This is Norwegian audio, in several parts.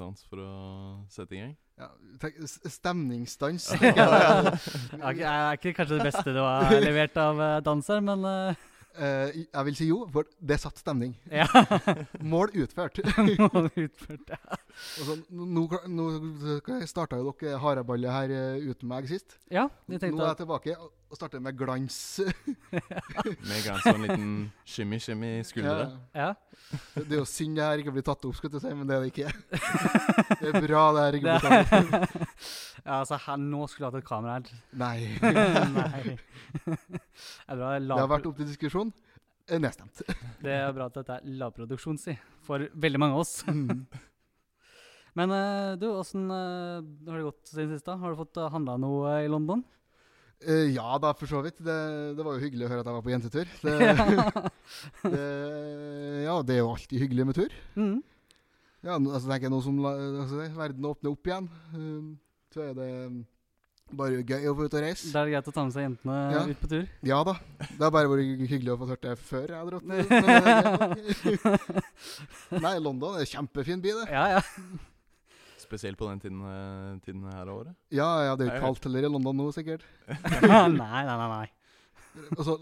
hans for å sette i gang? Ja, tenk, s- stemningsstans. Jeg tenker jeg. er ikke kanskje det beste du har levert av eh, dans her, men eh, Eh, jeg vil si jo, for det satt stemning. ja. Mål utført. Mål utført, ja. Og så, nå kla- nå starta jo dere hareballet her eh, uten meg sist. ja, Nå jeg er tenkte jeg at tilbake og og starter med glans. Med kanskje en liten shimmy-shimmy i skuldra? ja. Det det er jo synd det her ikke blir tatt opp, skulle jeg til å si, men det er det ikke. Det er bra det her ikke blir tatt opp. ja, altså, her, nå skulle jeg hatt et kamera her. Nei. Nei. Det er bra, Det har vært opp til diskusjon. Eh, Nedstemt. Det er bra at dette er lavproduksjon, si. For veldig mange av oss. Mm. Men eh, du, åssen eh, har det gått siden sist? da? Har du fått uh, handla noe eh, i London? Eh, ja da, for så vidt. Det, det var jo hyggelig å høre at jeg var på jentetur. Det, det, ja, det er jo alltid hyggelig med tur. Mm. Ja, nå- altså tenker jeg nå som la- altså, verden åpner opp igjen, eh, så er det um, bare gøy å få ut og reise. Da er det greit å ta med seg jentene Ja. ut på tur? Ja da. Det har bare vært hyggelig å få hørt det før jeg dro til Nei, London er en kjempefin by, det. Ja, ja. Spesielt på den tiden, eh, tiden her av året? Ja, ja, det er Jeg jo ikke vet. kaldt heller i London nå, sikkert. nei, nei, nei. nei. Altså,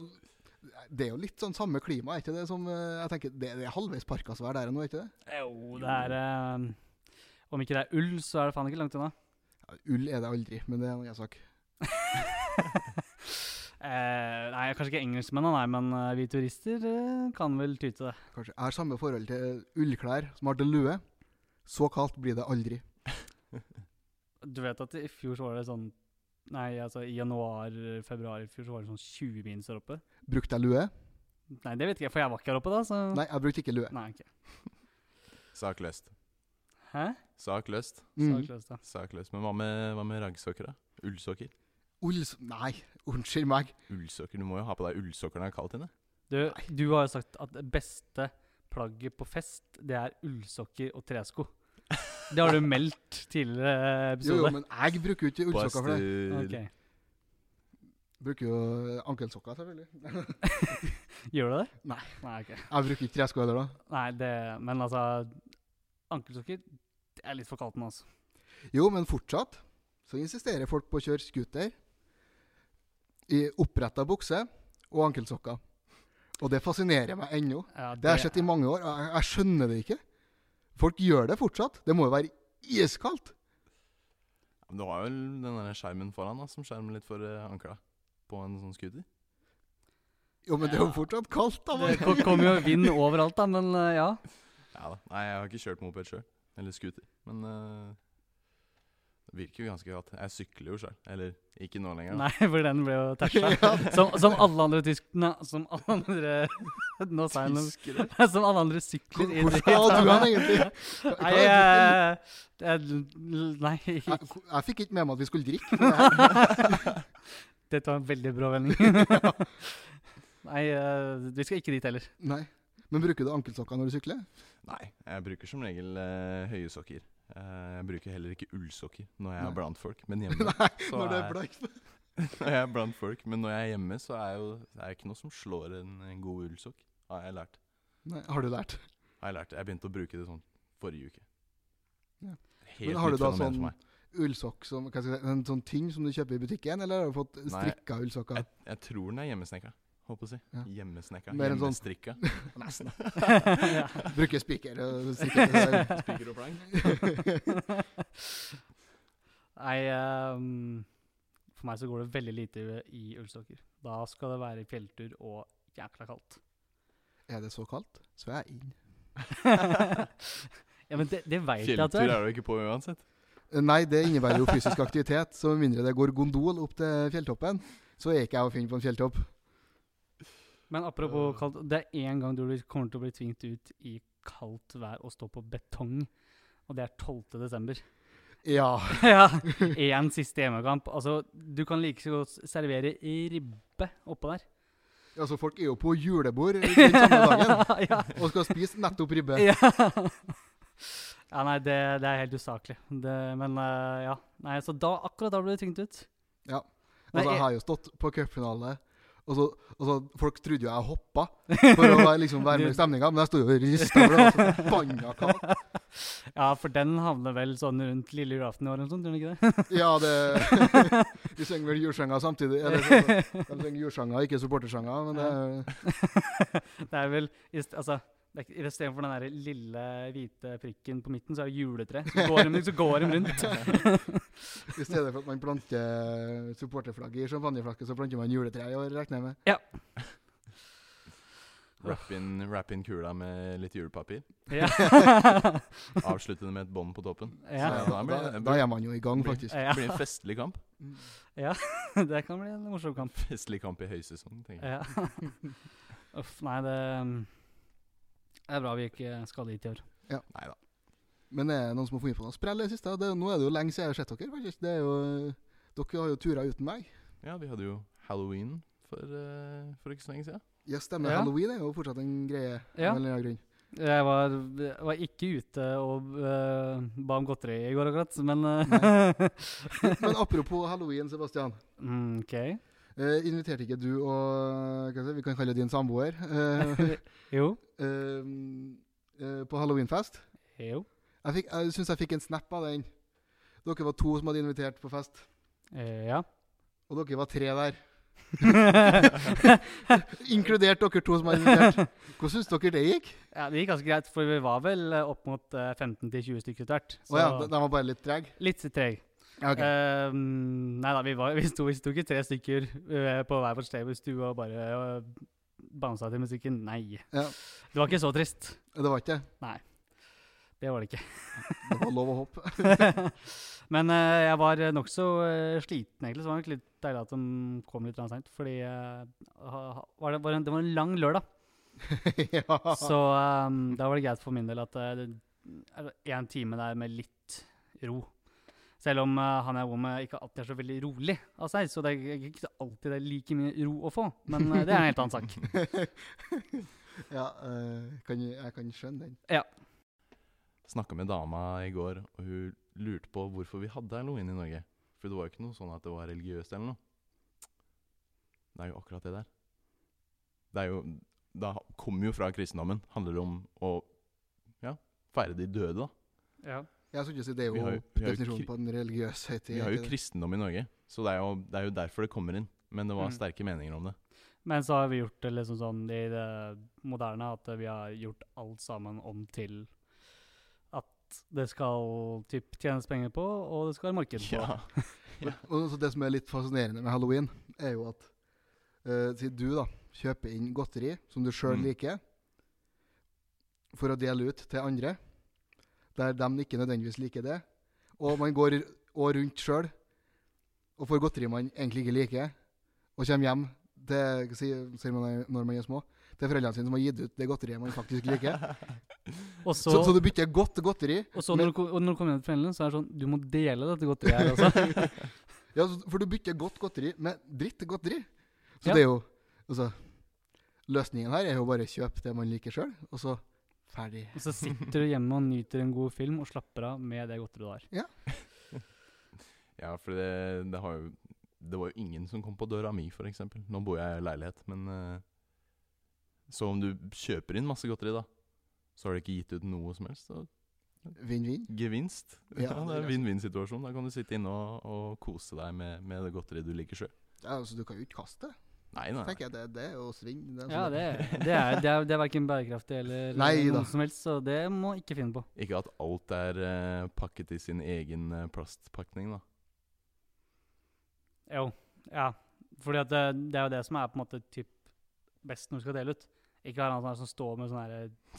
det er jo litt sånn samme klima, er ikke det? Som, eh, jeg tenker, det, det er halvveis parkasvær der nå, er ikke det? Jo, det er eh, Om ikke det er ull, så er det faen ikke langt unna. Ja, ull er det aldri, men det er en annen sak. Eh, nei, kanskje ikke engelskmennene, nei, men eh, vi turister eh, kan vel ty til det. Kanskje jeg har samme forhold til ullklær som har til lue. Så kaldt blir det aldri. Du vet at i fjor så var det sånn Nei, altså i januar-februar i fjor så var det sånn 20 minus der oppe. Brukte jeg lue? Nei, det vet ikke jeg, for jeg var ikke her oppe da, så Nei, jeg brukte ikke lue. Nei, ok. Sak løst. Hæ? Sak løst. Mm. Sakløst, da. Sak løst. Men hva med, hva med raggsokker, da? Ullsokker? Ull s- Nei, unnskyld meg. Ullsokker, Du må jo ha på deg ullsokker når det er kaldt inne. Du, du har jo sagt at det beste plagget på fest, det er ullsokker og tresko. Det har du meldt tidligere Jo, jo, episode. men jeg bruker jo ikke ullsokker for det. Bastur. Ok. Bruker jo eh, ankelsokker, selvfølgelig. Gjør du det? Nei. Nei, ok. Jeg bruker ikke tresko heller, da. Nei, det Men altså, ankelsokker det er litt for kaldt nå, altså. Jo, men fortsatt så insisterer folk på å kjøre scooter i oppretta bukse og ankelsokker. Og det fascinerer meg ennå. Ja, Det har jeg sett i mange år. og Jeg, jeg skjønner det ikke. Folk gjør det fortsatt. Det må jo være iskaldt. Men Du har jo den der skjermen foran da, som skjermer litt for eh, ankla på en sånn scooter. Jo, men det er jo Ja. fortsatt kaldt, da. Det men- ko- kommer jo vind overalt, da, men eh, ja. Ja da. Nei, jeg har ikke kjørt moped sjøl. Eller scooter. Men eh, det virker jo ganske godt. Jeg sykler jo sjøl. Eller ikke nå lenger. da. Nei, for den ble jo tæsja. Som, som alle andre tyskene Som alle andre Nå sa jeg noe Tyskere? Som alle andre sykler i Hvor skal du hen, egentlig? Nei, eh, jeg, jeg, nei Jeg, jeg fikk ikke med meg at vi skulle drikke. men jeg- dette var en veldig brå vending. Nei, eh, vi skal ikke dit heller. Nei. Men bruker du ankelsokker når du sykler? Nei, jeg bruker som regel eh, høye sokker. Eh, jeg bruker heller ikke ullsokker når jeg Nei. er blant folk. Men hjemme Nei, så når det er- er blankt. når jeg er blant folk, men når jeg er hjemme, så er jo det er ikke noe som slår en, en god ullsokk. Har jeg lært. Nei, har du lært? Har jeg lært. Jeg begynte å bruke det sånn forrige uke. Ja. Helt har du nytt da fenomen for sånn- meg. ullsokk som hva skal jeg si, En sånn ting som du kjøper i butikken, eller har du fått strikka ullsokker? Jeg, jeg tror den er hjemmesnekra. Håper å si. Ja. Hjemmesnekra. Mer en sånn- Hjemmestrikka. Nesten. Ja. Bruker spiker. og strikker til seg. Spiker og plang. Nei, eh, for meg så går det veldig lite i ullsokker. Da skal det være fjelltur og jækla kaldt. Er det så kaldt, så er jeg inn. ja, men det, det veit jeg at Fjelltur det er. er du ikke på uansett. Eh, Nei, det innebærer jo fysisk aktivitet, så med mindre det går gondol opp til fjelltoppen, så er ikke jeg å finne på en fjelltopp. Men apropos kaldt, det er én gang du blir- kommer til å bli tvingt ut i kaldt vær og stå på betong, og det er 12. desember. Ja. ja. Én siste hjemmekamp. Altså, du kan like så godt servere i ribbe oppå der. Altså, folk er jo på julebord den samme dagen ja. og skal spise nettopp ribbe. ja. ja, nei, det, det er helt usaklig. Det, men eh, ja. Nei, så da, akkurat da ble du tyngt ut. Ja. Nei, Altså, jeg jeg, har jo stått på cupfinale Og så, og så, folk trodde jo jeg hoppa for å være- liksom være med i stemninga, men jeg sto jo og rista. for det var så forbanna kaldt. Ja, for den havner vel sånn rundt lille julaften i år eller noe sånt, gjør den ikke det? Ja, det Vi synger vel julesanger samtidig. Eller, så, de synger julesanger, ikke supportersanger. Men det, Det er vel i st- altså, det er ikke- i stedet for den der lille hvite prikken på midten, så er det juletre. Så går de, så går de rundt. I stedet for at man planter supporterflagget i champagneflaket, så planter man juletre i år, regner jeg med. Wrap in, wrap in kula med litt julepapir. Ja. Avslutte det med et bånd på toppen. ja. Ja, da Så, blir da, det- da er man jo i gang, faktisk. Det blir en festlig kamp. Det kan bli en morsom kamp. Festlig kamp i høysesong, tenker jeg. Ja. Uff, nei, det um, er bra vi ikke skal dit i år. Nei da. Men er det noen som har funnet på noe sprell i det siste? Det, er- nå er det jo lenge siden jeg har sett dere, faktisk. Det er jo, dere har jo tura uten meg. Ja, vi hadde jo halloween for, eh, for ikke så lenge siden. Ja, stemmer. Ja. Halloween er jo fortsatt en greie. Ja. av en eller annen grunn. Jeg var, jeg var ikke ute og øh, ba om godteri i går akkurat, men uh, Men apropos halloween, Sebastian. mm, OK. Eh, inviterte ikke du og eh, hva skal jeg si, Vi kan kalle det din samboer. eh, Jo. eh, eh, på halloweenfest. Jo. Jeg, fikk- jeg syns jeg fikk en snap av den. Dere var to som hadde invitert på fest, Eh, ja. og dere var tre der. Inkludert dere to som hadde invitert. Hvordan syns dere det gikk? ja. Det gikk ganske greit, for vi var vel eh, opp mot eh, 15-20 stykker etter hvert. Å ja, de, de var bare litt trege? litt treg. Ja, ok. Eh, nei da, vi, var, vi, sto, vi sto ikke tre stykker eh, på hver vårt sted i stua og bare uh, bansa til musikken. Nei. Ja, Det var ikke så trist. det var ikke det. Det var det ikke. Det var lov å hoppe. Men eh, jeg var eh, nokså eh, sliten, egentlig. Så det var nok litt deilig at de kom litt seint. Fordi eh, ha- ha- var det, var en, det var en lang lørdag. ja. Så eh, da var det greit for min del at eh, det er en time der med litt ro. Selv om eh, han jeg bor med, ikke alltid er så veldig rolig av seg. Så det er ikke alltid det er like mye ro å få. Men eh, det er en helt annen sak. ja eh, kan, jeg jeg kan skjønne den. Snakka med dama i går, og hun lurte på hvorfor vi hadde halloween i Norge. For det var jo ikke noe sånn at det var religiøst eller noe. Det er jo akkurat det der. Det er jo Da kommer jo fra kristendommen. Handler det om å ja, feire de døde, da. Ja. Jeg synes ikke det er Vi jo, har jo- vi har jo definisjonen kri- på en religiøs høytid. Vi har jo ikke det? kristendom i Norge, så det er jo, det er jo derfor det kommer inn. Men det var Mm. sterke meninger om det. Men så har vi gjort det liksom sånn i det moderne at vi har gjort alt sammen om til at det skal typ tjenes penger på, og det skal være marked på. Ja. Og så Det som er litt fascinerende med halloween, er jo at eh, si du da, kjøper inn godteri som du sjøl Mm. liker, for å dele ut til andre, der de ikke nødvendigvis liker det. Og man går og rundt sjøl og får godteri man egentlig ikke liker, og kommer hjem til, hva sier sier man det når man er små, til foreldrene sine som har gitt ut det godteriet man faktisk liker. Og Så, så, så, du bytter godt godteri. og så når, du, kom- og når du kommer hjem til foreldrene, så er det sånn Du må dele dette godteriet her, altså. Ja, så- for du bytter godt godteri med dritt godteri. Så Ja. det er jo Altså, løsningen her er jo bare å kjøpe det man liker sjøl, og så ferdig. Og så sitter du hjemme og nyter en god film og slapper av med det godteriet du har. Ja, for det, det har jo Det var jo ingen som kom på døra mi, f.eks. Nå bor jeg i leilighet, men eh, Så om du kjøper inn masse godteri, da, så har du ikke gitt ut noe som helst. Så Vinn-vinn. gevinst. Ja, Ja, det er det en er vinn-vinn-situasjon. Da kan du sitte inne og, og kose deg med, med det godteriet du liker sjøl. Ja, altså, du kan jo ikke kaste det. Nei, nei. tenker jeg. Det, det er jo svinn. det er Ja, sånn- det, det er, det er, det er verken bærekraftig eller Nei da. noe som helst, så det må ikke finne på. Ikke at alt er eh, pakket i sin egen eh, plastpakning, da. Jo, ja. Fordi at det, det er jo det som er på en måte typ best når du skal dele ut. Ikke være han som står med sånn her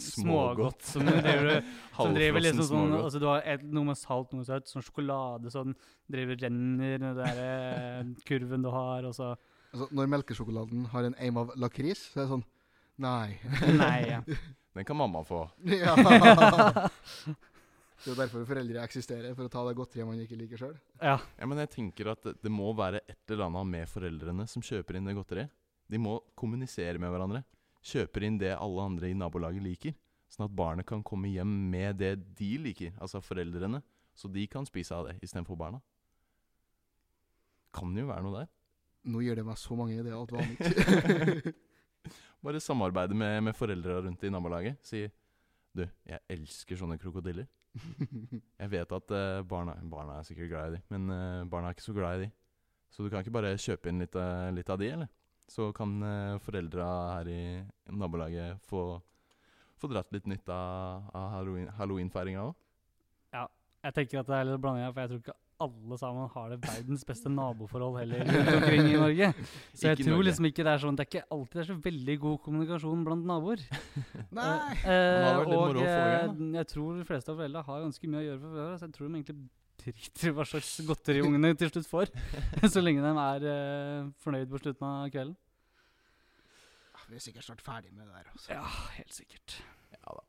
smågodt som driver, som driver liksom sånn smågodt. altså Du har et, noe med salt, noe søtt, sånn sjokolade sånn driver renner den der eh, kurven du har, og så Altså, når melkesjokoladen har en aim av lakris, så er det sånn Nei. Nei. Ja. Den kan mamma få. ja. Det er jo derfor foreldre eksisterer, for å ta det godteriet man ikke liker sjøl. Ja, men jeg tenker at det, det må være et eller annet med foreldrene som kjøper inn det godteriet. De må kommunisere med hverandre. Kjøper inn det alle andre i nabolaget liker. Sånn at barnet kan komme hjem med det de liker, altså foreldrene. Så de kan spise av det istedenfor barna. Kan jo være noe der. Nå gir det meg så mange ideer at det aner ikke. Bare samarbeide med, med foreldra rundt i nabolaget. Si du, jeg elsker sånne krokodiller. Jeg vet at eh, barna, barna er sikkert glad i de, men eh, barna er ikke så glad i de. Så du kan ikke bare kjøpe inn litt, av- litt av de, eller? Så kan uh, foreldra her i nabolaget få, få dratt litt nytte av, av halloween- halloweenfeiringa òg. Jeg tenker at det er litt blanding her, for jeg tror ikke alle sammen har det verdens beste naboforhold heller rundt omkring i Norge. Så jeg Ikke i tror Norge. liksom ikke det er sånn Det er ikke alltid det er så veldig god kommunikasjon blant naboer. Nei! Eh, Men eh, det hadde vært litt og moro å få i eh, gang, jeg tror de fleste av foreldrene har ganske mye å gjøre for før, så jeg tror de egentlig driter i hva slags godteri ungene til slutt får. Så lenge de er eh, fornøyd på slutten av kvelden. Vi er sikkert snart ferdig med det der. Altså. Ja, helt sikkert. Ja da.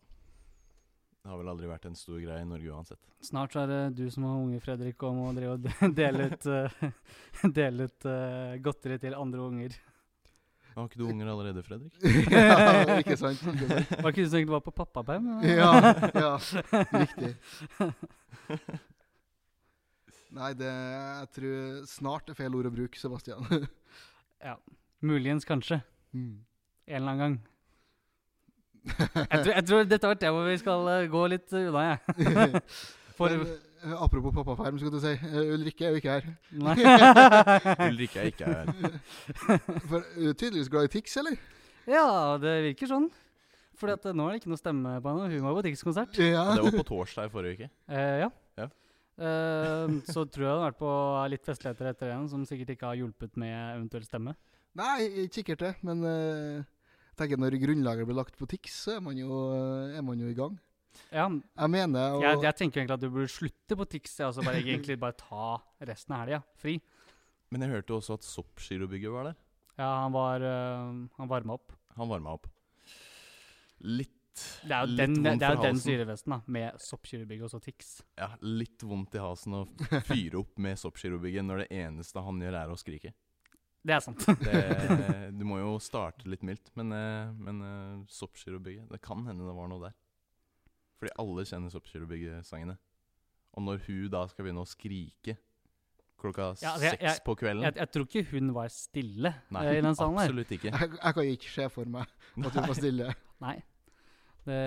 Det har vel aldri vært en stor greie i Norge uansett. Snart så er det du som har unge, Fredrik, og må drive og de- dele ut, eh, dele ut eh, godteri til andre unger. Har ikke du unger allerede, Fredrik? ja, ikke sant? Ikke sant? Var ikke du som egentlig var på pappaperm? Ja, ja, riktig. Nei, det jeg tror snart er feil ord å bruke, Sebastian. Muligens, kanskje. Mm. En eller annen gang. Jeg tror, jeg tror dette var et tema vi skal eh, gå litt unna, jeg. For Men, eh, apropos pappaperm, skulle du si. eh, Ulrikke er jo ikke her. Nei. Ulrikke er ikke her. For hun er tydeligvis glad i Tix, eller? Ja, det virker sånn. Fordi at eh, nå er det ikke noe stemme på henne. Hun var på Tix-konsert. Ja. Det var på torsdag i forrige uke. Eh, ja. Ja. Eh, så tror jeg hun har vært på litt festligheter etter henne, som sikkert ikke har hjulpet med eventuell stemme. Nei, ikke kikkert det, men eh, tenker når grunnlaget blir lagt på Tix, så er man jo, eh, er man jo i gang. Ja, Jeg mener og, jeg, jeg tenker egentlig at du burde slutte på Tix, og så bare, egentlig bare ta resten av helga fri. Men jeg hørte også at Soppgirobygget var der. Ja, han var eh, Han varma opp. Han varma opp. Litt Det er jo Litt den, det, vond er jo for den halsen. styrefesten, da. Med soppkirurgbygg og så Tix. ja, litt vondt i halsen å fyre opp med soppgirobygget når det eneste han gjør, er å skrike. Det er sant. Det, du må jo starte litt mildt, men, eh, men eh, soppgirobygget Det kan hende det var noe der. Fordi alle kjenner soppgirobygget-sangene. Og når hun da skal begynne å skrike klokka Ja, altså, jeg- seks på kvelden Jeg, jeg tror ikke hun var stille Nei, eh, i den salen her. absolutt ikke. jeg, jeg kan ikke se for meg at hun var stille. Nei. Det,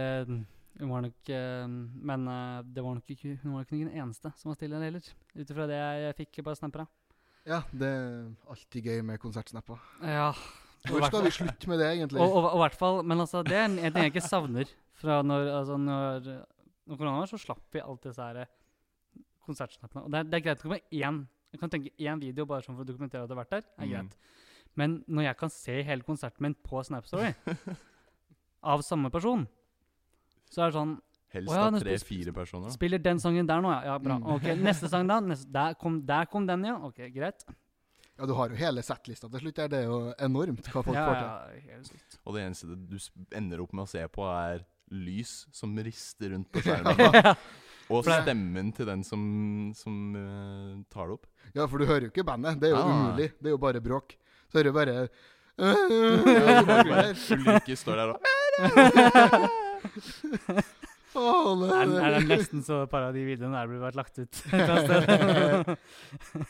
hun var nok eh, Men eh, det var nok ikke, hun var nok ikke den eneste som var stille heller. Ut ifra det jeg, jeg fikk på snapper. Ja, det er alltid gøy med konsertsnapper. Ja. Og, Når skal hvertfall- vi slutte med det, og, egentlig? og, og hvert fall Men altså, det er en en ting jeg ikke savner fra når, altså, når, når korona var, så slapp vi alt disse her eh, konsertsnappene. Og det er, det er greit å komme med én. Jeg kan tenke én video bare sånn for å dokumentere at du har vært der. er Mm. greit. Men når jeg kan se hele konserten min på SnapStory av samme person, så er det sånn Helst Å ja, av nå sp- tre-fire personer. Da. Spiller den sangen der nå, ja. ja bra. Mm. Ok, Neste sang, da. Neste, der, kom, der kom den, ja. Ok, Greit. Ja, du har jo hele settlista til slutt. der. Det er jo enormt hva folk ja, får til. ja, helt sykt. Og det eneste du s- ender opp med å se på, er lys som rister rundt på skjermen. ja. Og For det- stemmen til den som, som eh, tar det opp. Ja, for du hører jo ikke bandet. Det er jo Ah. umulig. Det er jo bare bråk. Så hører du bare Ja, du øh, bare- bare Ulrikke står der og Åh, Er, det- er det nesten så et par av de videoene der burde vært lagt ut. et eller annet sted.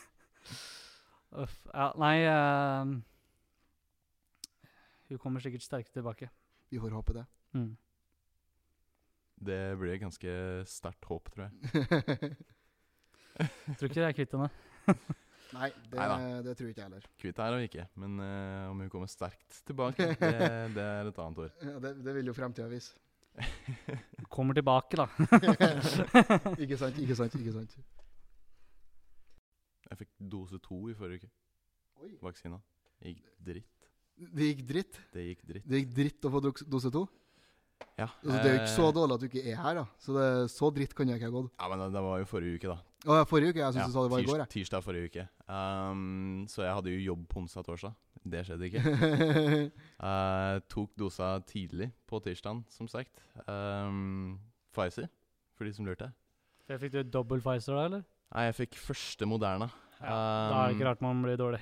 Uff. Ja, nei eh, Hun kommer sikkert sterkere tilbake. Vi får håpe det. Mm. Det blir et ganske sterkt håp, tror jeg. Tror ikke jeg er kvitt henne. Nei, det, Neida. det tror ikke jeg heller. Kvitt er hun ikke, men eh, om hun kommer sterkt tilbake, det, det er et annet ord. Ja, det, det vil jo fremtida vise. Kommer tilbake, da. Ikke sant, ikke sant, ikke sant. Jeg fikk dose to i forrige uke. Vaksina. Det gikk dritt. Det gikk dritt. Det gikk dritt. Det gikk dritt å få doks- dose to. Ja, Altså, det er jo ikke så eh, dårlig at du ikke er her, da. Så det, så dritt kan jeg ikke ha gått. ja, men det, det var jo forrige uke, da. Å, ja, forrige uke. Jeg syns Ja, du sa det var i tirs- går, jeg. Tirsdag forrige uke. Um, så jeg hadde jo jobb på onsdag og torsdag. Det skjedde ikke. Eh, tok dosa tidlig på tirsdagen, som sagt. Ehm, Pfizer, for de som lurte. Fikk du dobbel Pfizer da, eller? Nei, jeg fikk første Moderna. Ehm, da er det ikke rart man blir dårlig.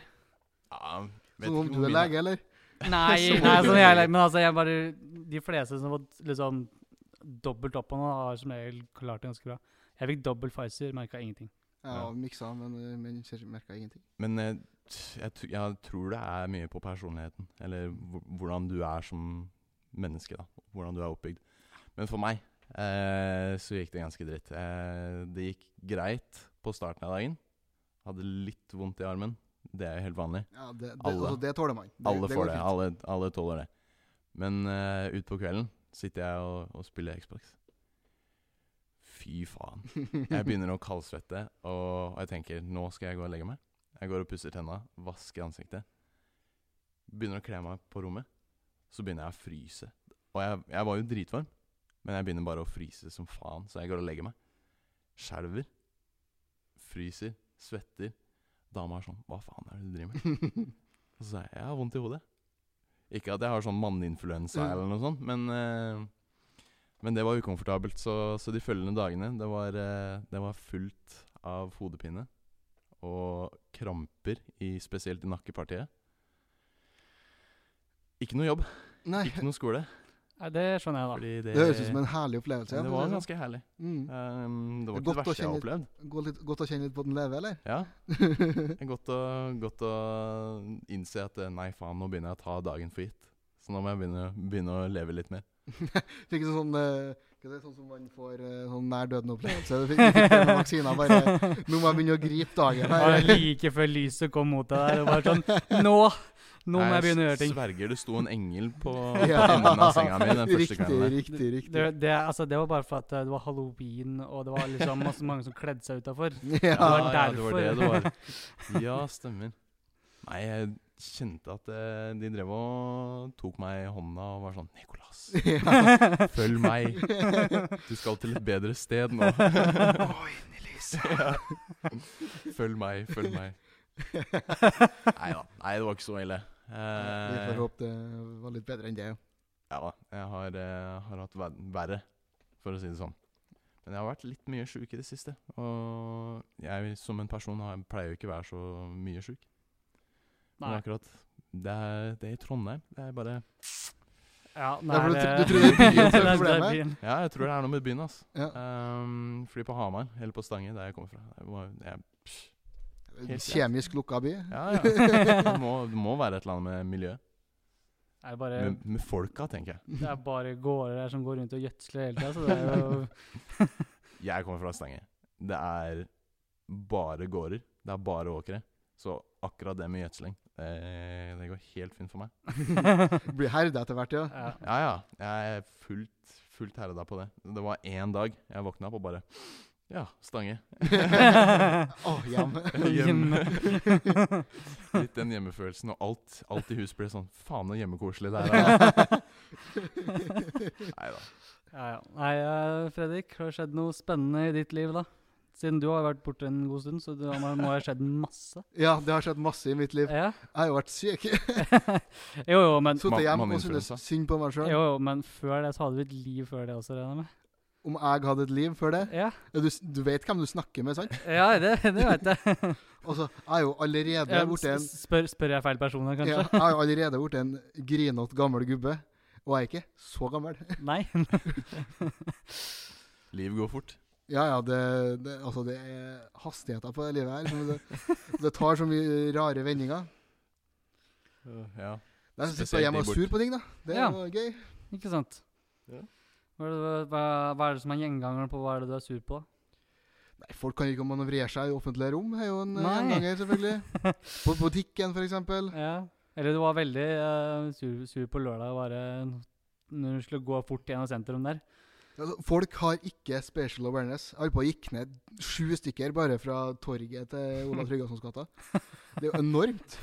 Ja, vet Som ikke om hvor du er mye- lege, eller? Nei, Så nei dårlig. som jeg, men altså, jeg bare De fleste som har fått liksom dobbelt opp på nå, har som regel klart det ganske bra. Jeg fikk dobbel Pfizer, merka ingenting. Jeg Ja. har miksa, men, men merka ingenting. Men eh, t- jeg, tr- jeg tror det er mye på personligheten. Eller hvor- hvordan du er som menneske. da Hvordan du er oppbygd. Men for meg eh, så gikk det ganske dritt. Eh, det gikk greit på starten av dagen. Hadde litt vondt i armen. Det er jo helt vanlig. Ja, det, det, Alle. altså, det tåler man. Det, Alle det får går det. fint. Alle, alle tåler det. Men eh, utpå kvelden sitter jeg og, og spiller Xbox. Fy faen. Jeg begynner å kaldsvette, og, og jeg tenker nå skal jeg gå og legge meg. Jeg går og pusser tenna, vasker ansiktet. Begynner å kle meg på rommet. Så begynner jeg å fryse. Og jeg, jeg var jo dritvarm, men jeg begynner bare å fryse som faen, så jeg går og legger meg. Skjelver. Fryser. Svetter. Dama er sånn Hva faen er det du driver med? Og så sa jeg jeg har vondt i hodet. Ikke at jeg har sånn Mm. manneinfluensa eller noe sånt, men, eh, men det var ukomfortabelt. Så, så de følgende dagene, det var, eh, det var fullt av hodepine og kramper, i, spesielt i nakkepartiet. Ikke noe jobb, Nei, ikke noe skole. Nei, det skjønner jeg, da. Fordi det, det høres ut som en herlig opplevelse. ja, det for å var si ganske herlig. sånn. Um, det var ikke Det er godt det å verste jeg har kjenne- opplevd. mm. Gå litt, godt å kjenne litt på den leve, eller? Ja, Det er godt å, godt å innse at eh, nei, faen, nå begynner jeg å ta dagen for gitt. Så nå må jeg begynne, begynne å leve litt mer. Fikk en sånn eh, hva er det, sånn som man får eh, sånn nær døden-opplevelse. Du fikk, du fikk det med vaksina. Bare Nå må jeg begynne å gripe Det dagen. var her. like før lyset kom mot deg der. Det var sånn Nå! Nå må Nei, jeg begynne å gjøre ting. Sverger det sto en engel på Ja. enden av senga mi den første Riktig, kvelden. der. riktig, Det, riktig. det, altså, det var bare for at eh, det var halloween, og det var liksom masse mange som kledde seg utafor. Ja, Ja. ja, det var det derfor. det var. Ja, stemmer. Nei, jeg kjente at eh, de drev og tok meg i hånda og var sånn Nikolas, ja. følg meg. Du skal til et bedre sted nå. Ja. Følg meg, følg meg. Nei da. Nei, det var ikke så ille. Vi Eh, får håpe det var litt bedre enn det. ja. ja da. Jeg har, eh, har hatt ver verre, for å si det sånn. Men jeg har vært litt mye sjuk i det siste. Og jeg som en person har, pleier jo ikke å være så mye sjuk. Men Nei. akkurat det er, det er i Trondheim. Det er bare Ja, Ja, for du det- tr- du tror det er byen som er Det det problemet? byen. Ja, jeg tror det er noe med byen, altså. Ja. Um, fordi på Hamar, eller på Stange, der jeg kommer fra det var, jeg, greit. Kjemisk lukka by. Ja, ja. Det må, det må være et eller annet med miljøet. Det er bare, Med, med folka, tenker jeg. det er bare gårder der som går rundt og gjødsler hele tida, så det er jo Jeg kommer fra Stange. Det er bare gårder. Det er bare åkre. Så akkurat det med gjødsling, eh, det går helt fint for meg. Blir herda etter hvert, ja. ja. Ja, ja. Jeg er fullt, fullt herda på det. Det var én dag jeg våkna opp og bare Ja, Stange. Å, hjem. Hjemme. Hjemme. Litt den hjemmefølelsen, og alt, alt i huset ble sånn Faen, så hjemmekoselig det er. da." Nei, Neida. Ja, ja. Nei, eh, Fredrik, har det skjedd noe spennende i ditt liv, da? Siden du har vært borte en god stund, så det må må ha skjedd masse. Ja, det har skjedd masse i mitt liv. Ja. Jeg har jo vært syk. Jo, jo, men, Ma- Sittet hjemme og syntes manninfluensa. synd på meg jo, sjøl. jo, men før det så hadde du et liv før det også, regner jeg med? Om jeg hadde et liv før det Ja, Ja, Du, s- du vet hvem du snakker med, sant? ja det, det veit jeg. Altså, jeg er jo allerede Ja, borte en s- spør, spør jeg feil person her, ja, kanskje? Jeg er jo allerede borte en grinete gammel gubbe. Og jeg er ikke så gammel. Nei. Livet går fort. Ja, ja, det, det, altså, det er hastigheter på det livet her. som Det, det tar så mye rare vendinger. Ja. Jeg Spesielt sitter hjemme og de er bort- sur på ting, da. Det er Ja. jo gøy. Ikke sant? Ja. Hva, er det- hva, hva er det som er gjengangeren på hva er det du er sur på? Nei, folk kan ikke manøvrere seg i offentlige rom. Det er jo en eh, Nei. gjenganger, selvfølgelig. På butikken, f.eks. Ja. Eller du var veldig eh, sur, sur på lørdag bare når du skulle gå fort gjennom sentrum der. Altså, folk har ikke special awareness. Jeg holdt på å gikk ned sju stykker bare fra torget til Olav Tryggvasons gata. Det er jo enormt.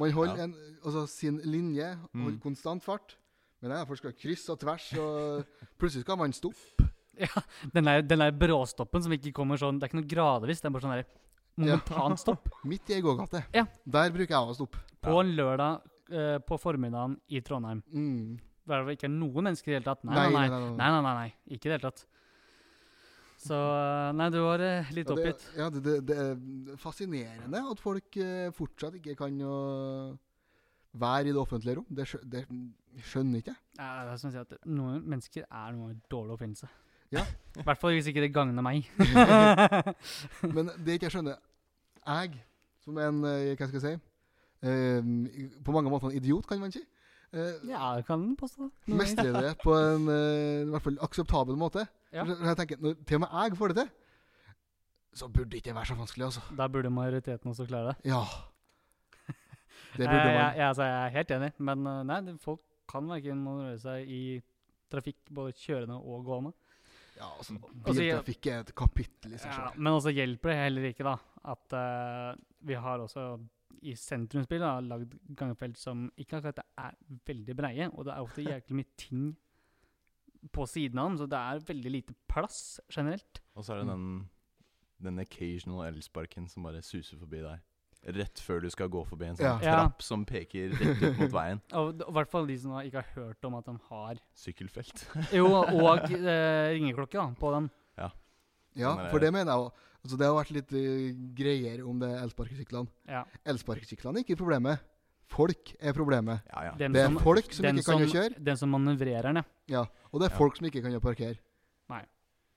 Man holder Ja. en, altså, sin linje, holder Mm. konstant fart. Men nei, folk skal krysse og tvers, og plutselig skal man stoppe. Den der, den der bråstoppen som ikke kommer sånn Det er ikke noe gradvis, det er bare sånn der momentant stopp. Midt i ei gågate. Ja. Der bruker jeg å stoppe. På en lørdag eh, på formiddagen i Trondheim. Mm. Der det ikke er noen mennesker i det hele tatt. Nei, nei, nei. nei, nei. nei, nei, nei. Ikke i det hele tatt. Så eh, Nei, du var eh, litt Ja, oppgitt. Det, ja, det, det, det er fascinerende at folk eh, fortsatt ikke kan å være i det offentlige rom. Det, skjø- det skjønner ikke jeg. Ja, det er som å si at Noen mennesker er noe dårlig oppfinnelse. Ja. I hvert fall hvis ikke det gagner meg. Men det ikke jeg skjønner Jeg Som en eh, Hva skal jeg si? Eh, på mange måter en idiot, kan man si. Eh, Ja, jeg kan påstå det. mestrer det på en eh, i hvert fall akseptabel måte. Ja. Så Jeg tenker, når til og med jeg får det til, så burde ikke det være så vanskelig, altså. Da burde majoriteten også klare det. Ja. Det Eh, burde jeg, man. jeg, altså, jeg er helt enig, men eh, nei, det- folk kan verken manøvrere seg i trafikk, både kjørende og gående. Ja, altså, Altså, jeg- Biltrafikk er et kapittel i seg Ja, selv. men også hjelper det heller ikke da, at eh, vi har også i sentrumsbil da, lagd gangfelt som ikke akkurat er veldig breie, og det er ofte jæklig mye ting på siden av dem, så det er veldig lite plass generelt. Og så er det Mm. den, den occasional elsparken som bare suser forbi deg. Rett før du skal gå forbi en sånn Ja. Ja. trapp som peker rett ut mot veien. Og d- og i hvert fall de som da ikke har hørt om at den har Sykkelfelt. Jo, og eh, ringeklokke da, på den. Ja, Men, eh, for det mener jeg òg. Altså, det har vært litt eh, greier om det elsparkesyklene. Ja. Elsparkesyklene er ikke problemet. Folk er problemet. Ja, ja. Den Det er som- folk som den ikke kan å kjøre, Den som manøvrerer den, ja. ja. og det er Ja. folk som ikke kan å parkere.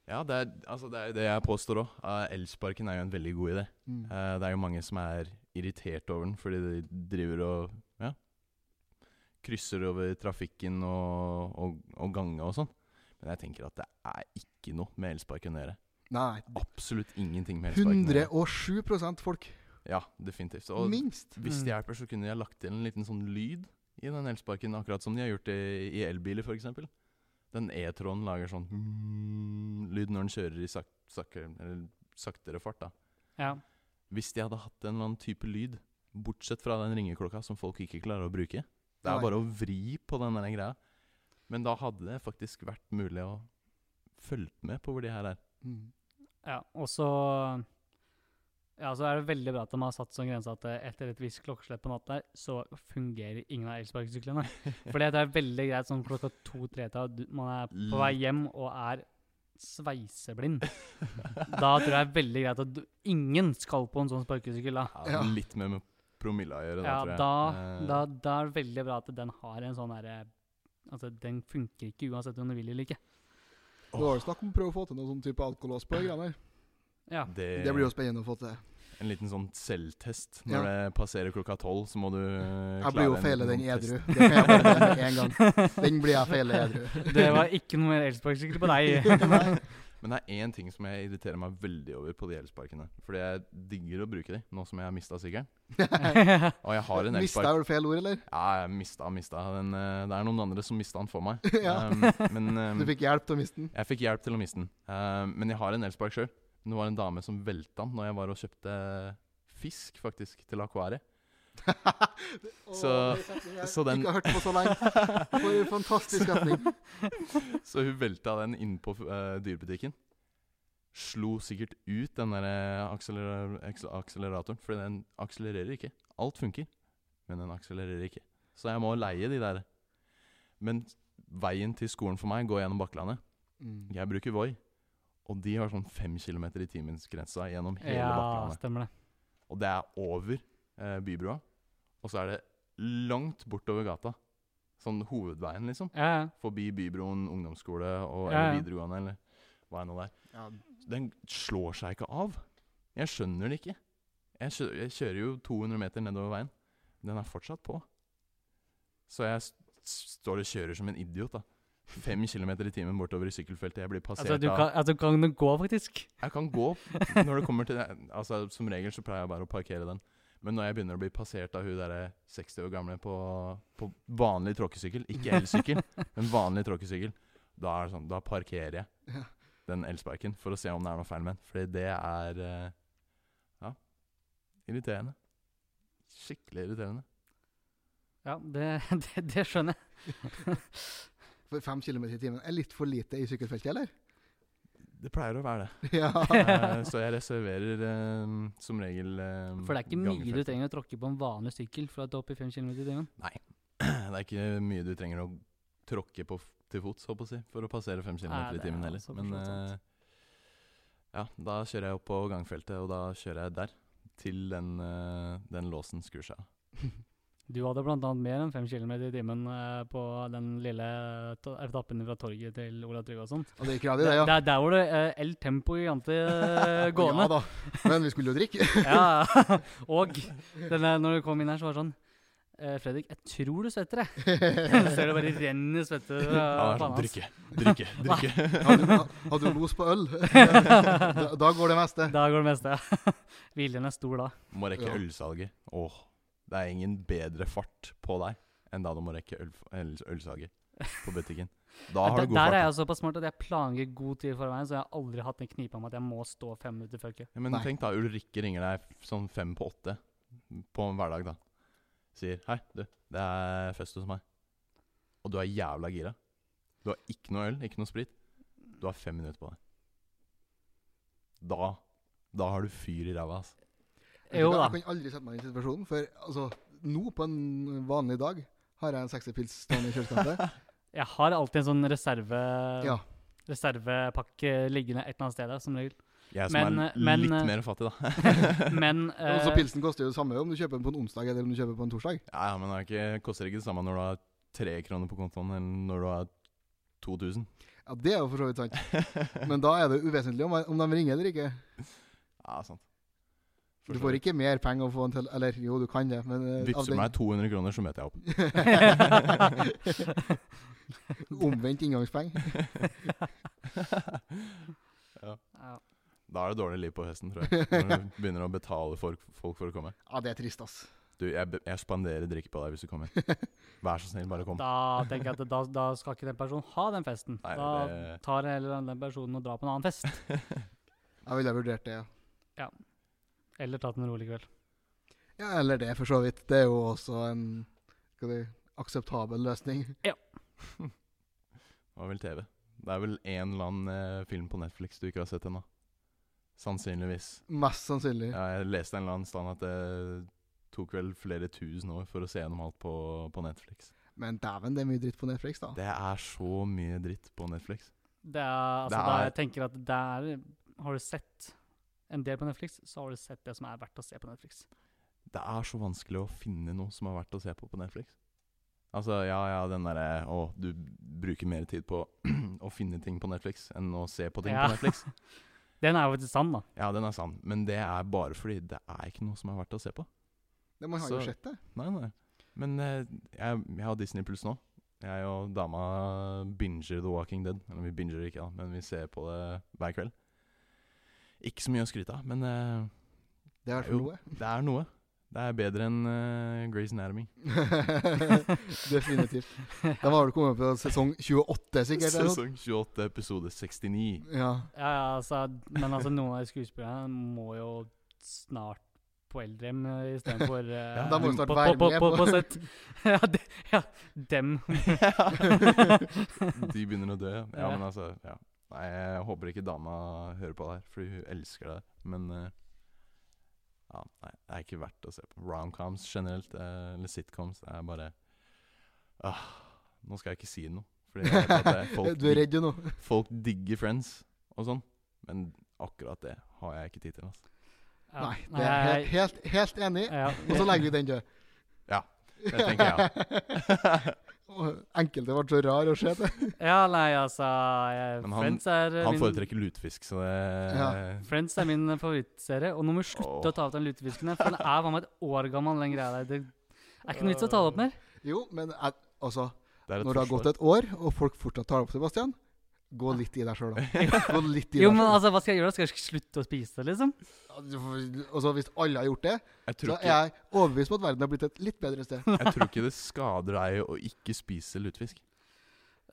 ja det, er, altså, det er jo det jeg påstår òg. elsparken er jo en veldig god idé. Mm. Eh, det er jo mange som er irritert over den fordi de driver og ja, krysser over trafikken og, og, og gange og sånn. Men jeg tenker at det er ikke noe med elsparken å gjøre. Nei. Absolutt ingenting med elsparken. å gjøre. 107 folk, Ja, definitivt. Og minst. hvis Mm. det hjelper, så kunne de ha lagt til en liten sånn lyd i den elsparken, akkurat som de har gjort i, i elbiler, f.eks. Den E-tråden lager sånn hmm, lyd når den kjører i sak, sakker, eller saktere fart, da. ja. Hvis de hadde hatt en eller annen type lyd, bortsett fra den ringeklokka som folk ikke klarer å bruke Det Nei. er bare å vri på den der greia. Men da hadde det faktisk vært mulig å følge med på hvor de her er. Mm. Ja, og så ja, så er det veldig bra at de har satt sånn grense at eh, etter et visst klokkeslett på natta, der, så fungerer ingen av elsparkesyklene. For det er veldig greit sånn klokka to-tre-tida, man er på vei hjem og er sveiseblind. Da tror jeg det er veldig greit at du, ingen skal på en sånn sparkesykkel. Da. Ja, Ja. Litt mer med promilla å gjøre, da, Ja, tror jeg. da, Eh, da, da er det veldig bra at den har en sånn derre Altså, den funker ikke uansett om du vil eller ikke. Nå var det snakk om å prøve å få til noen sånn type alkolås på de greiene her. Ja. det, Det blir jo spennende å få til. En liten sånn selvtest. Når det passerer klokka tolv, så må du eh, Jeg blir jo klare en feile liten den sånn edru. test. Det kan jeg bare si med en gang. Den blir jeg feile edru. Det var ikke noe mer elsparkesykkel på deg. Men det er én ting som jeg irriterer meg veldig over på de elsparkene. Fordi jeg digger å bruke de, nå som jeg har mista sykkelen. Og jeg har en Mista elspark. jeg vel feil ord, eller? Ja, jeg mista, mista. Den, eh, det er noen andre som mista den for meg. Ja. Um, men um, Du fikk hjelp til å miste den? jeg fikk hjelp til å miste den. Um, men jeg har en elspark sjøl. Det var en dame som velta den når jeg var og kjøpte fisk, faktisk, til akvariet. Så- så den- Ikke har hørt på så lenge. For en fantastisk setning. Så hun velta den inn på eh, dyrebutikken. Slo sikkert ut den der eh, akseler aksel- akseleratoren, for den akselererer ikke. Alt funker, men den akselererer ikke. Så jeg må leie de der. Men veien til skolen for meg går gjennom Bakklandet. Mm. Jeg bruker Voi, og de har sånn 5 km i timensgrensa gjennom hele ja, Bakklandet. stemmer det. Og det er over eh, bybrua, og så er det langt bortover gata. Sånn hovedveien, liksom Ja, ja. forbi Bybroen ungdomsskole og Ja, ja. eller videregående eller hva enn det er. Ja, Den slår seg ikke av. Jeg skjønner det ikke. Jeg, kjø jeg kjører jo 200 meter nedover veien. Den er fortsatt på. Så jeg s- s- står og kjører som en idiot, da. Fem kilometer i timen bortover i sykkelfeltet. Jeg blir passert Altså, du kan, av altså, kan du gå, faktisk? Jeg kan gå når det kommer til det. Altså, Som regel så pleier jeg bare å parkere den. Men når jeg begynner å bli passert av hun derre 60 år gamle på, på vanlig tråkkesykkel, ikke elsykkel, men vanlig tråkkesykkel, da er det sånn, da parkerer jeg Ja. den elsparken for å se om det er noe feil med den. Fordi det er eh, ja, irriterende. Skikkelig irriterende. Ja, det, det, det skjønner jeg. For fem kilometer i timen er litt for lite i sykkelfeltet, eller? Det pleier å være det. Ja. Eh, så jeg reserverer eh, som regel eh, For det er ikke mye du gangfeltet. trenger å tråkke på en vanlig sykkel for at du er oppe i 5 km i timen. Det er ikke mye du trenger å tråkke på f- til fots håper jeg, å si, for å passere 5 km Nei, i det er timen heller. altså for Men så vidt sant. eh, ja, da kjører jeg opp på gangfeltet, og da kjører jeg der. Til den, eh, den låsen skrur seg av. Du hadde bl.a. mer enn 5 km i timen eh, på den lille ta- etappen fra torget til Ola Trygve og sånt. Og det gikk rad i det, ja. Der, der var det eh, El Tempo Gigante eh, Ja gående. da. Men vi skulle jo drikke. Ja, og denne, når du kom inn her, så var det sånn eh, Fredrik, jeg tror du svetter, jeg. Ser det bare renner svette Ja, det fra er sånn, panna hans. drikke, drikke, drikke. Hadde, hadde du los på øl? Da, da går det meste. Da går det meste. Viljen er stor da. Må rekke Ja. ølsalget. Åh, det er ingen bedre fart på deg enn da du må rekke øl, øl, ølsalget på butikken. Da har Der, du god der er fart. jeg såpass smart at jeg planlegger god tid forveien, så jeg har aldri hatt en knipe om at jeg må stå fem minutter før kø. Ja, men Nei. tenk da, Ulrikke ringer deg f- sånn fem på åtte på en hverdag, da. Sier 'hei, du, det er fest hos meg'. Og du er jævla gira. Du har ikke noe øl, ikke noe sprit. Du har fem minutter på deg. Da Da har du fyr i ræva, ass. Jo da. Jeg kan aldri sette meg i den situasjonen, for altså, nå på en vanlig dag har jeg en 60-pils stående Sånn i kjøleskapet. Jeg har alltid en sånn reserve, Ja. reservepakke liggende et eller annet sted, der, som regel. Jeg som Men, er eh, men, litt eh, mer fattig, da. Men Og så eh, pilsen koster jo det samme om du kjøper den på en onsdag eller om du kjøper den på en torsdag. Ja, ja, men det er ikke, koster ikke det samme når du har tre kroner på kontoen, eller når du har 2000. Ja, Det er jo for så vidt sant. Men da er det jo uvesentlig om, om de ringer eller ikke. Ja, sant. Du får ikke mer penger å få en til Eller jo, du kan det, men eh, av Vippser den- meg 200 kroner, så møter jeg opp. Omvendt inngangspenger. ja. Da er det dårlig liv på høsten, tror jeg. Når du begynner å betale folk, folk for å komme. Ja, det er trist, ass. Du, jeg, be- jeg spanderer drikke på deg hvis du kommer. Vær så snill, bare kom. Da tenker jeg at da, da skal ikke den personen ha den festen. Nei, da det- tar jeg heller den personen og drar på en annen fest. Jeg ville ha vurdert det. ja. Eller tatt en rolig kveld. Ja, eller det, for så vidt. Det er jo også en skal du, akseptabel løsning. Det var vel TV. Det er vel en eller annen eh, film på Netflix du ikke har sett ennå. Sannsynligvis. Mest sannsynlig. Ja, jeg leste en eller annen stand at det tok vel flere tusen år for å se gjennom alt på, på Netflix. Men dæven, det er mye dritt på Netflix, da. Det er så mye dritt på Netflix. Det er, altså, Det da er- jeg tenker at der har du sett en del på Netflix, så har du sett det som er verdt å se på Netflix. Det er så vanskelig å finne noe som er verdt å se på på Netflix. Altså, ja, ja, den derre Å, du bruker mer tid på å finne ting på Netflix enn å se på ting Ja. på Netflix. Den er jo faktisk sann, da. Ja, den er sann. Men det er bare fordi det er ikke noe som er verdt å se på. Det, man har Så- jo sett det. Nei, nei. Men eh, jeg, jeg har Disney Pluss nå. Jeg og dama binger The Walking Dead. Eller vi binger ikke, da, men vi ser på det hver kveld. Ikke så mye å skryte av, men eh, Det er i hvert Jo. fall noe. det er noe. Det er bedre enn uh, Grey's Anatomy. Definitivt. De har vel kommet på sesong 28, sikkert. eller noe. Sesong 28, episode 69. Ja. Ja, ja, altså, men altså, noen av de skuespillerne må jo snart på eldrehjem eh, istedenfor uh, Ja, da må du snart på, være på, med på, på- på sett. ja, de, ja, dem. De begynner å dø. Ja, ja Ja. men altså ja. Nei, Jeg håper ikke dama hører på det her, for hun elsker det. Men eh, ja, nei, det er ikke verdt å se på. Romcoms generelt, eh, eller sitcoms, det er bare ah, Nå skal jeg ikke si noe. Fordi jeg vet at det, folk, Du er redd du nå? dig- folk digger Friends og sånn, men akkurat det har jeg ikke tid til. Altså. Ja. Nei. Det er helt, helt, helt enig. ja, Og så legger vi den død. Ja, det tenker jeg òg. Enkelte ble så rar å se på. ja, nei, altså jeg, Men han- Friends er eh, Han min, foretrekker lutefisk, så det Ja. Friends er min favorittserie, og nå må du slutte Åh. å ta opp den lutefisken der, for den er faen meg et år gammel, den greia der. Det er ikke noe vits å ta det opp mer. Jo, men jeg- altså det er et Når det har forsvar. gått et år, og folk fortsatt tar det opp, Sebastian, gå litt i deg sjøl, da. Gå litt i Jo, deg men selv. altså, hva skal jeg gjøre? da? Skal jeg slutte å spise det, liksom? Du får- Altså, hvis alle har gjort det, Jeg tror så er ikke- jeg overbevist om at verden har blitt et litt bedre sted. jeg tror ikke det skader deg å ikke spise lutefisk.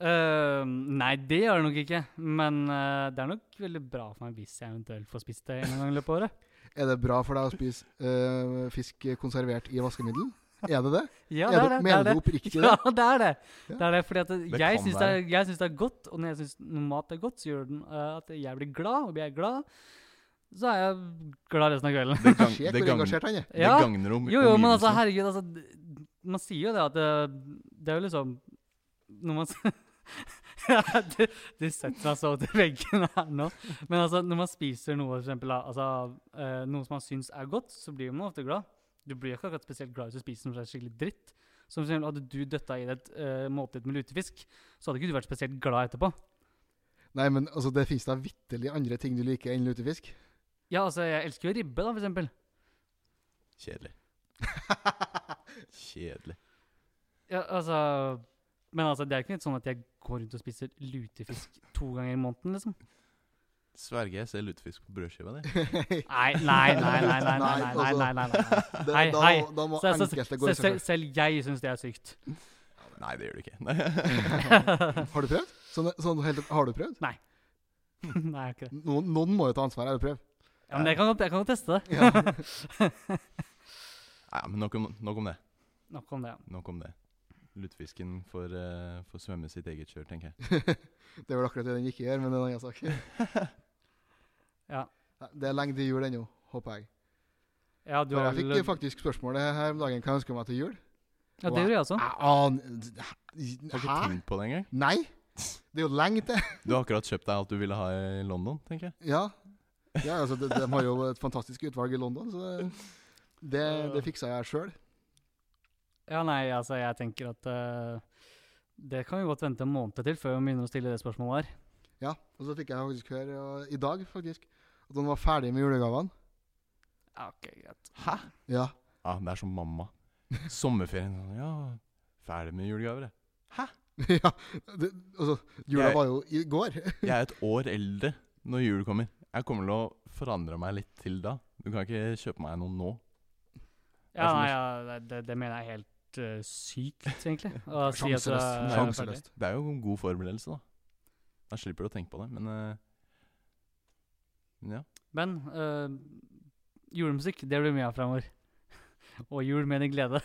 Eh, nei, det gjør det nok ikke. Men eh, det er nok veldig bra for meg hvis jeg eventuelt får spist det en gang i løpet av året. Er det bra for deg å spise eh, fisk konservert i vaskemiddel? Er det det? Ja, er det det, er det. det, mener er det. du oppriktig det? Ja, det er det. Ja. Det er det, fordi at det- Det jeg kan syns det, er- jeg syns det er godt, og når jeg syns noe mat er godt, så gjør den eh, at jeg blir glad, og blir jeg glad, så er jeg glad resten av kvelden. Det, gang, Se det, hvor gang, engasjert han er. det Ja. gagner om Jo, jo, men altså, omgivelsene. herregud, altså d- Man sier jo det at det, det er jo liksom Når man s- ja, du, du setter meg så til veggen her nå. Men altså, når man spiser noe, for eksempel, da, altså, eh, noe som man syns er godt, så blir man ofte glad. Du blir ikke akkurat spesielt glad hvis du spiser noe som er skikkelig dritt. Som for eksempel, hadde du døtta i deg et eh, måltid med lutefisk, så hadde ikke du vært spesielt glad etterpå. Nei, men altså, det finnes da vitterlig andre ting du liker enn lutefisk. Ja, altså, jeg elsker jo ribbe, da, for eksempel. Kjedelig. Kjedelig. Ja, altså, men altså, det er ikke sånn at jeg går rundt og spiser lutefisk to ganger i måneden, liksom. Sverger jeg ser lutefisk på brødskiva di. Nei, nei, nei, nei, nei, nei, nei, nei, nei, nei, nei. altså. Det- Hei, da, hei. må- Da må Så, altså, enkelte gå i selv, seg selv, selv jeg syns det er sykt. Nei, det gjør du ikke. Nei. sjøl. Har du prøvd? Sånn, sånn, helt- har du prøvd? Nei, ikke det. Noen, noen må jo ta ansvaret. Har du prøvd? Ja, men jeg kan, godt- jeg kan godt teste det. Ja. Nei, men nok om, nok om det. Nok om det. Nok om det. Lutefisken får, eh, får svømme sitt eget kjør, tenker jeg. det er vel akkurat det den ikke gjør, men det er en annen sak. Ja. Nei, Det er lenge til jul ennå, håper jeg. Ja, du For har jeg vel fikk faktisk spørsmålet her om dagen hva jeg ønsker meg til jul. Ja, det gjorde jeg også. Jeg aner- Har ikke Hæ? tenkt på det engang. Nei! Det er jo lenge til. Du har akkurat kjøpt deg alt du ville ha i London, tenker jeg. Ja. ja altså, de, de har jo et fantastisk utvalg i London, så det, det, det fiksa jeg sjøl. Ja, nei, altså, jeg tenker at eh, det kan vi godt vente en måned til før vi begynner å stille det spørsmålet her. Ja, og så fikk jeg faktisk høre ja, i dag faktisk, at han var ferdig med julegavene. Ja, ok, greit. Hæ? Ja. Ja, det er som mamma. Sommerferien. sånn, Ja, ferdig med julegaver, jeg. ja det, altså, jula Jeg- var jo i går. Jeg er et år eldre når jul kommer. Jeg kommer til å forandre meg litt til da. Du kan ikke kjøpe meg noe nå. Ja, som å- nei, ja, det- det, det mener jeg er helt eh, sykt, egentlig. Å si at det Sjanseløst. er ferdig. Sjanseløst. Det er jo en god forberedelse, da. Da slipper du å tenke på det, men eh, Men ja. Men eh, julemusikk, det blir mye av fremover. Og jul med en glede.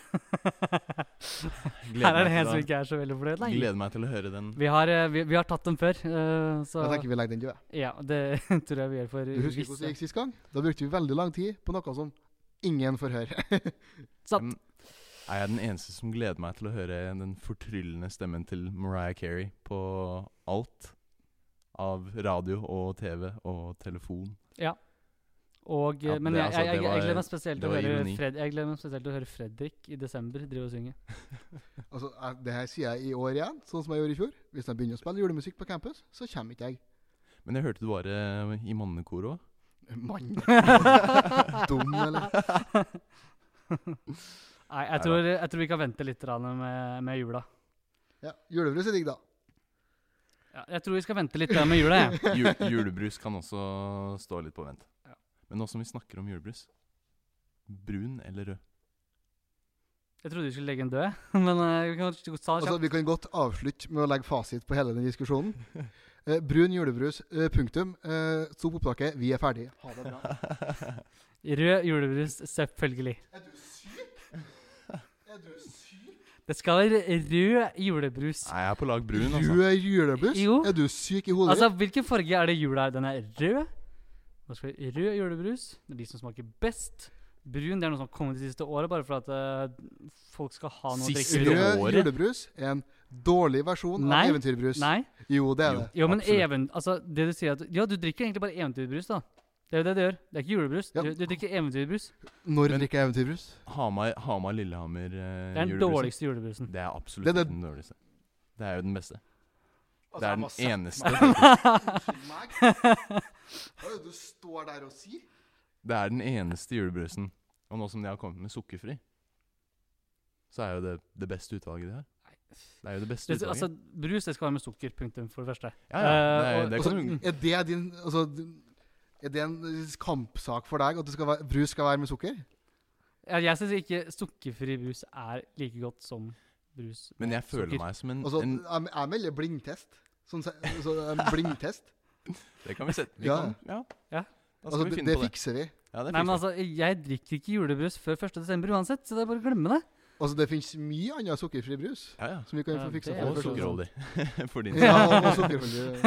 Her meg er det til en å- som ikke er så veldig fornøyd. Nei. gleder meg til å høre den. Vi har, eh, vi, vi har tatt dem før, eh, så Jeg tenker vi legger den død. ja, det tror jeg vi gjør for Du husker hvordan det visse. gikk sist gang? Da brukte vi veldig lang tid på noe som ingen får høre. Sant. Er jeg den eneste som gleder meg til å høre den fortryllende stemmen til Mariah Carey på alt? Av radio og TV og telefon. Og, eh, Ja, men det- jeg, altså, jeg, det jeg, jeg, var- gleder meg spesielt det til å var høre ironi. Fred, jeg gleder meg spesielt til å høre Fredrik i desember drive og synge. Altså, jeg- det her sier jeg i år igjen, sånn som jeg gjorde i fjor. Hvis de begynner å spille julemusikk på campus, så kommer ikke jeg. Men jeg hørte du var eh, i mannekoret òg. Mann! Dum, eller? Nei, jeg tror, jeg tror vi kan vente litt grann med, med jula. Ja, Julebrus er digg, da. Ja, jeg tror vi skal vente litt grann med jula, jeg. Jul, julebrus kan også stå litt på vent. Ja. Men nå som vi snakker om julebrus Brun eller rød? Jeg trodde vi skulle legge en død, men eh, vi kan godt ta det Altså, kjapt. vi kan godt avslutte med å legge fasit på hele den diskusjonen. Eh, brun julebrus, eh, punktum. Eh, Stopp opptaket, vi er ferdige. Ha det bra. Rød julebrus, selvfølgelig. Er du syk? Er du syk? Det skal være rød julebrus. Nei, jeg er på lag brun, altså. Rød julebrus? Jo. Er du syk i hodet? Altså, hvilken farge er det i jula er? Den er rød. Nå skal vi rød julebrus. Det er de som smaker best. Brun det er noe som har kommet det siste året, bare for at eh, folk skal ha noe å Siste ditt? drikke. Rød året? julebrus er en dårlig versjon Nei. av eventyrbrus. Nei? Jo, det er Jo. det. Jo, men Absolutt. even, altså, det du sier at, Ja, du drikker egentlig bare eventyrbrus, da. Det er jo det du gjør. Det er ikke julebrus. Ja. Du, du drikker eventyrbrus. Når Men- drikker jeg eventyrbrus? Hamar, Hamar Lillehammer eh, Det er den julebrusen. dårligste julebrusen. Det er absolutt Det er det- ikke den dårligste. Det er jo den beste. Altså, Det jeg er må den sette eneste. meg- faktisk. Unnskyld meg. Hva er det du står der og sier? Det er den eneste julebrusen. Og nå som de har kommet med sukkerfri, så er jo det det beste utvalget de har. Det er jo det beste Det, altså, utvalget. brus det skal være med sukker, punktum, for det første. Ja, ja. eh, Nei, og- det Altså, kan du er det din altså, Er det en kampsak for deg at det skal være, brus skal være med sukker? Ja, jeg syns ikke sukkerfri brus er like godt som brus. Men jeg føler Sukker. meg som en, Altså, en jeg, jeg melder blindtest. Sånn, se- altså, en blindtest. Det kan vi sette. Vi Ja. kan, ja. Ja. Da skal Altså, vi det, finne det på det. fikser vi. Ja, det Nei, men fikser vi. altså, Jeg drikker ikke julebrus før 1. desember uansett, så det er bare å glemme det. Altså, det finnes mye annen sukkerfri brus Ja, ja. som vi kan Ja, få fiksa. for det er Og første gang. sukkerholdig. For din Ja, del. og, altså- og sukkerholdig.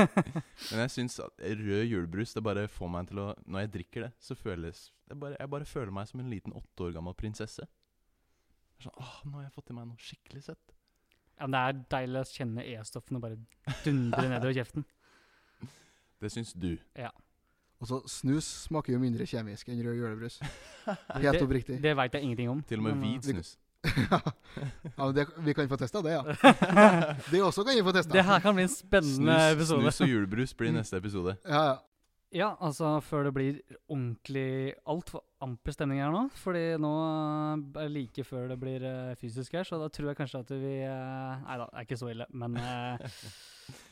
Men jeg syns at rød julebrus det bare får meg til å Når jeg drikker det, så føles det bare, Jeg bare føler meg som en liten åtte år gammel prinsesse. Det er Sånn, Åh, nå har jeg fått i meg noe skikkelig søtt. Ja, men Det er deilig å kjenne E-stoffene bare dundre nedover kjeften. Det syns du. Og så Altså, snus smaker jo mindre kjemisk enn rød julebrus. Helt oppriktig. Det veit jeg ingenting om. Til og med men, hvit Vi- snus. eh, ja, men det, vi kan få testa det, ja. eh, Det også kan vi få testa. det her kan bli en spennende Snus, episode. snus og julebrus blir Mm. neste episode. Ja, ja. Ja, altså før det blir ordentlig altfor amper stemning her nå. Fordi nå eh, er det like før det blir eh, fysisk her, så da tror jeg kanskje at vi eh, Nei da, det er ikke så ille. Men eh,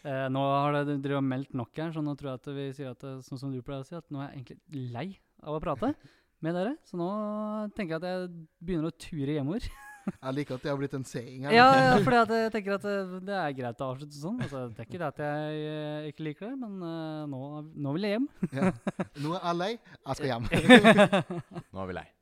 eh, nå har det det drevet og meldt nok her, så nå tror jeg at vi sier at eh, sånn som du pleier å si, at nå er jeg egentlig lei av å prate med dere. Så nå tenker jeg at jeg begynner å ture hjemover. Jeg liker at det har blitt en saying her. Ja, ja fordi at jeg tenker at eh, det er greit å avslutte sånn. Altså, det er ikke det at jeg eh, ikke liker det, men eh, nå, nå vil jeg hjem. Ja. Nå er jeg lei. Jeg skal hjem. Nå er vi lei.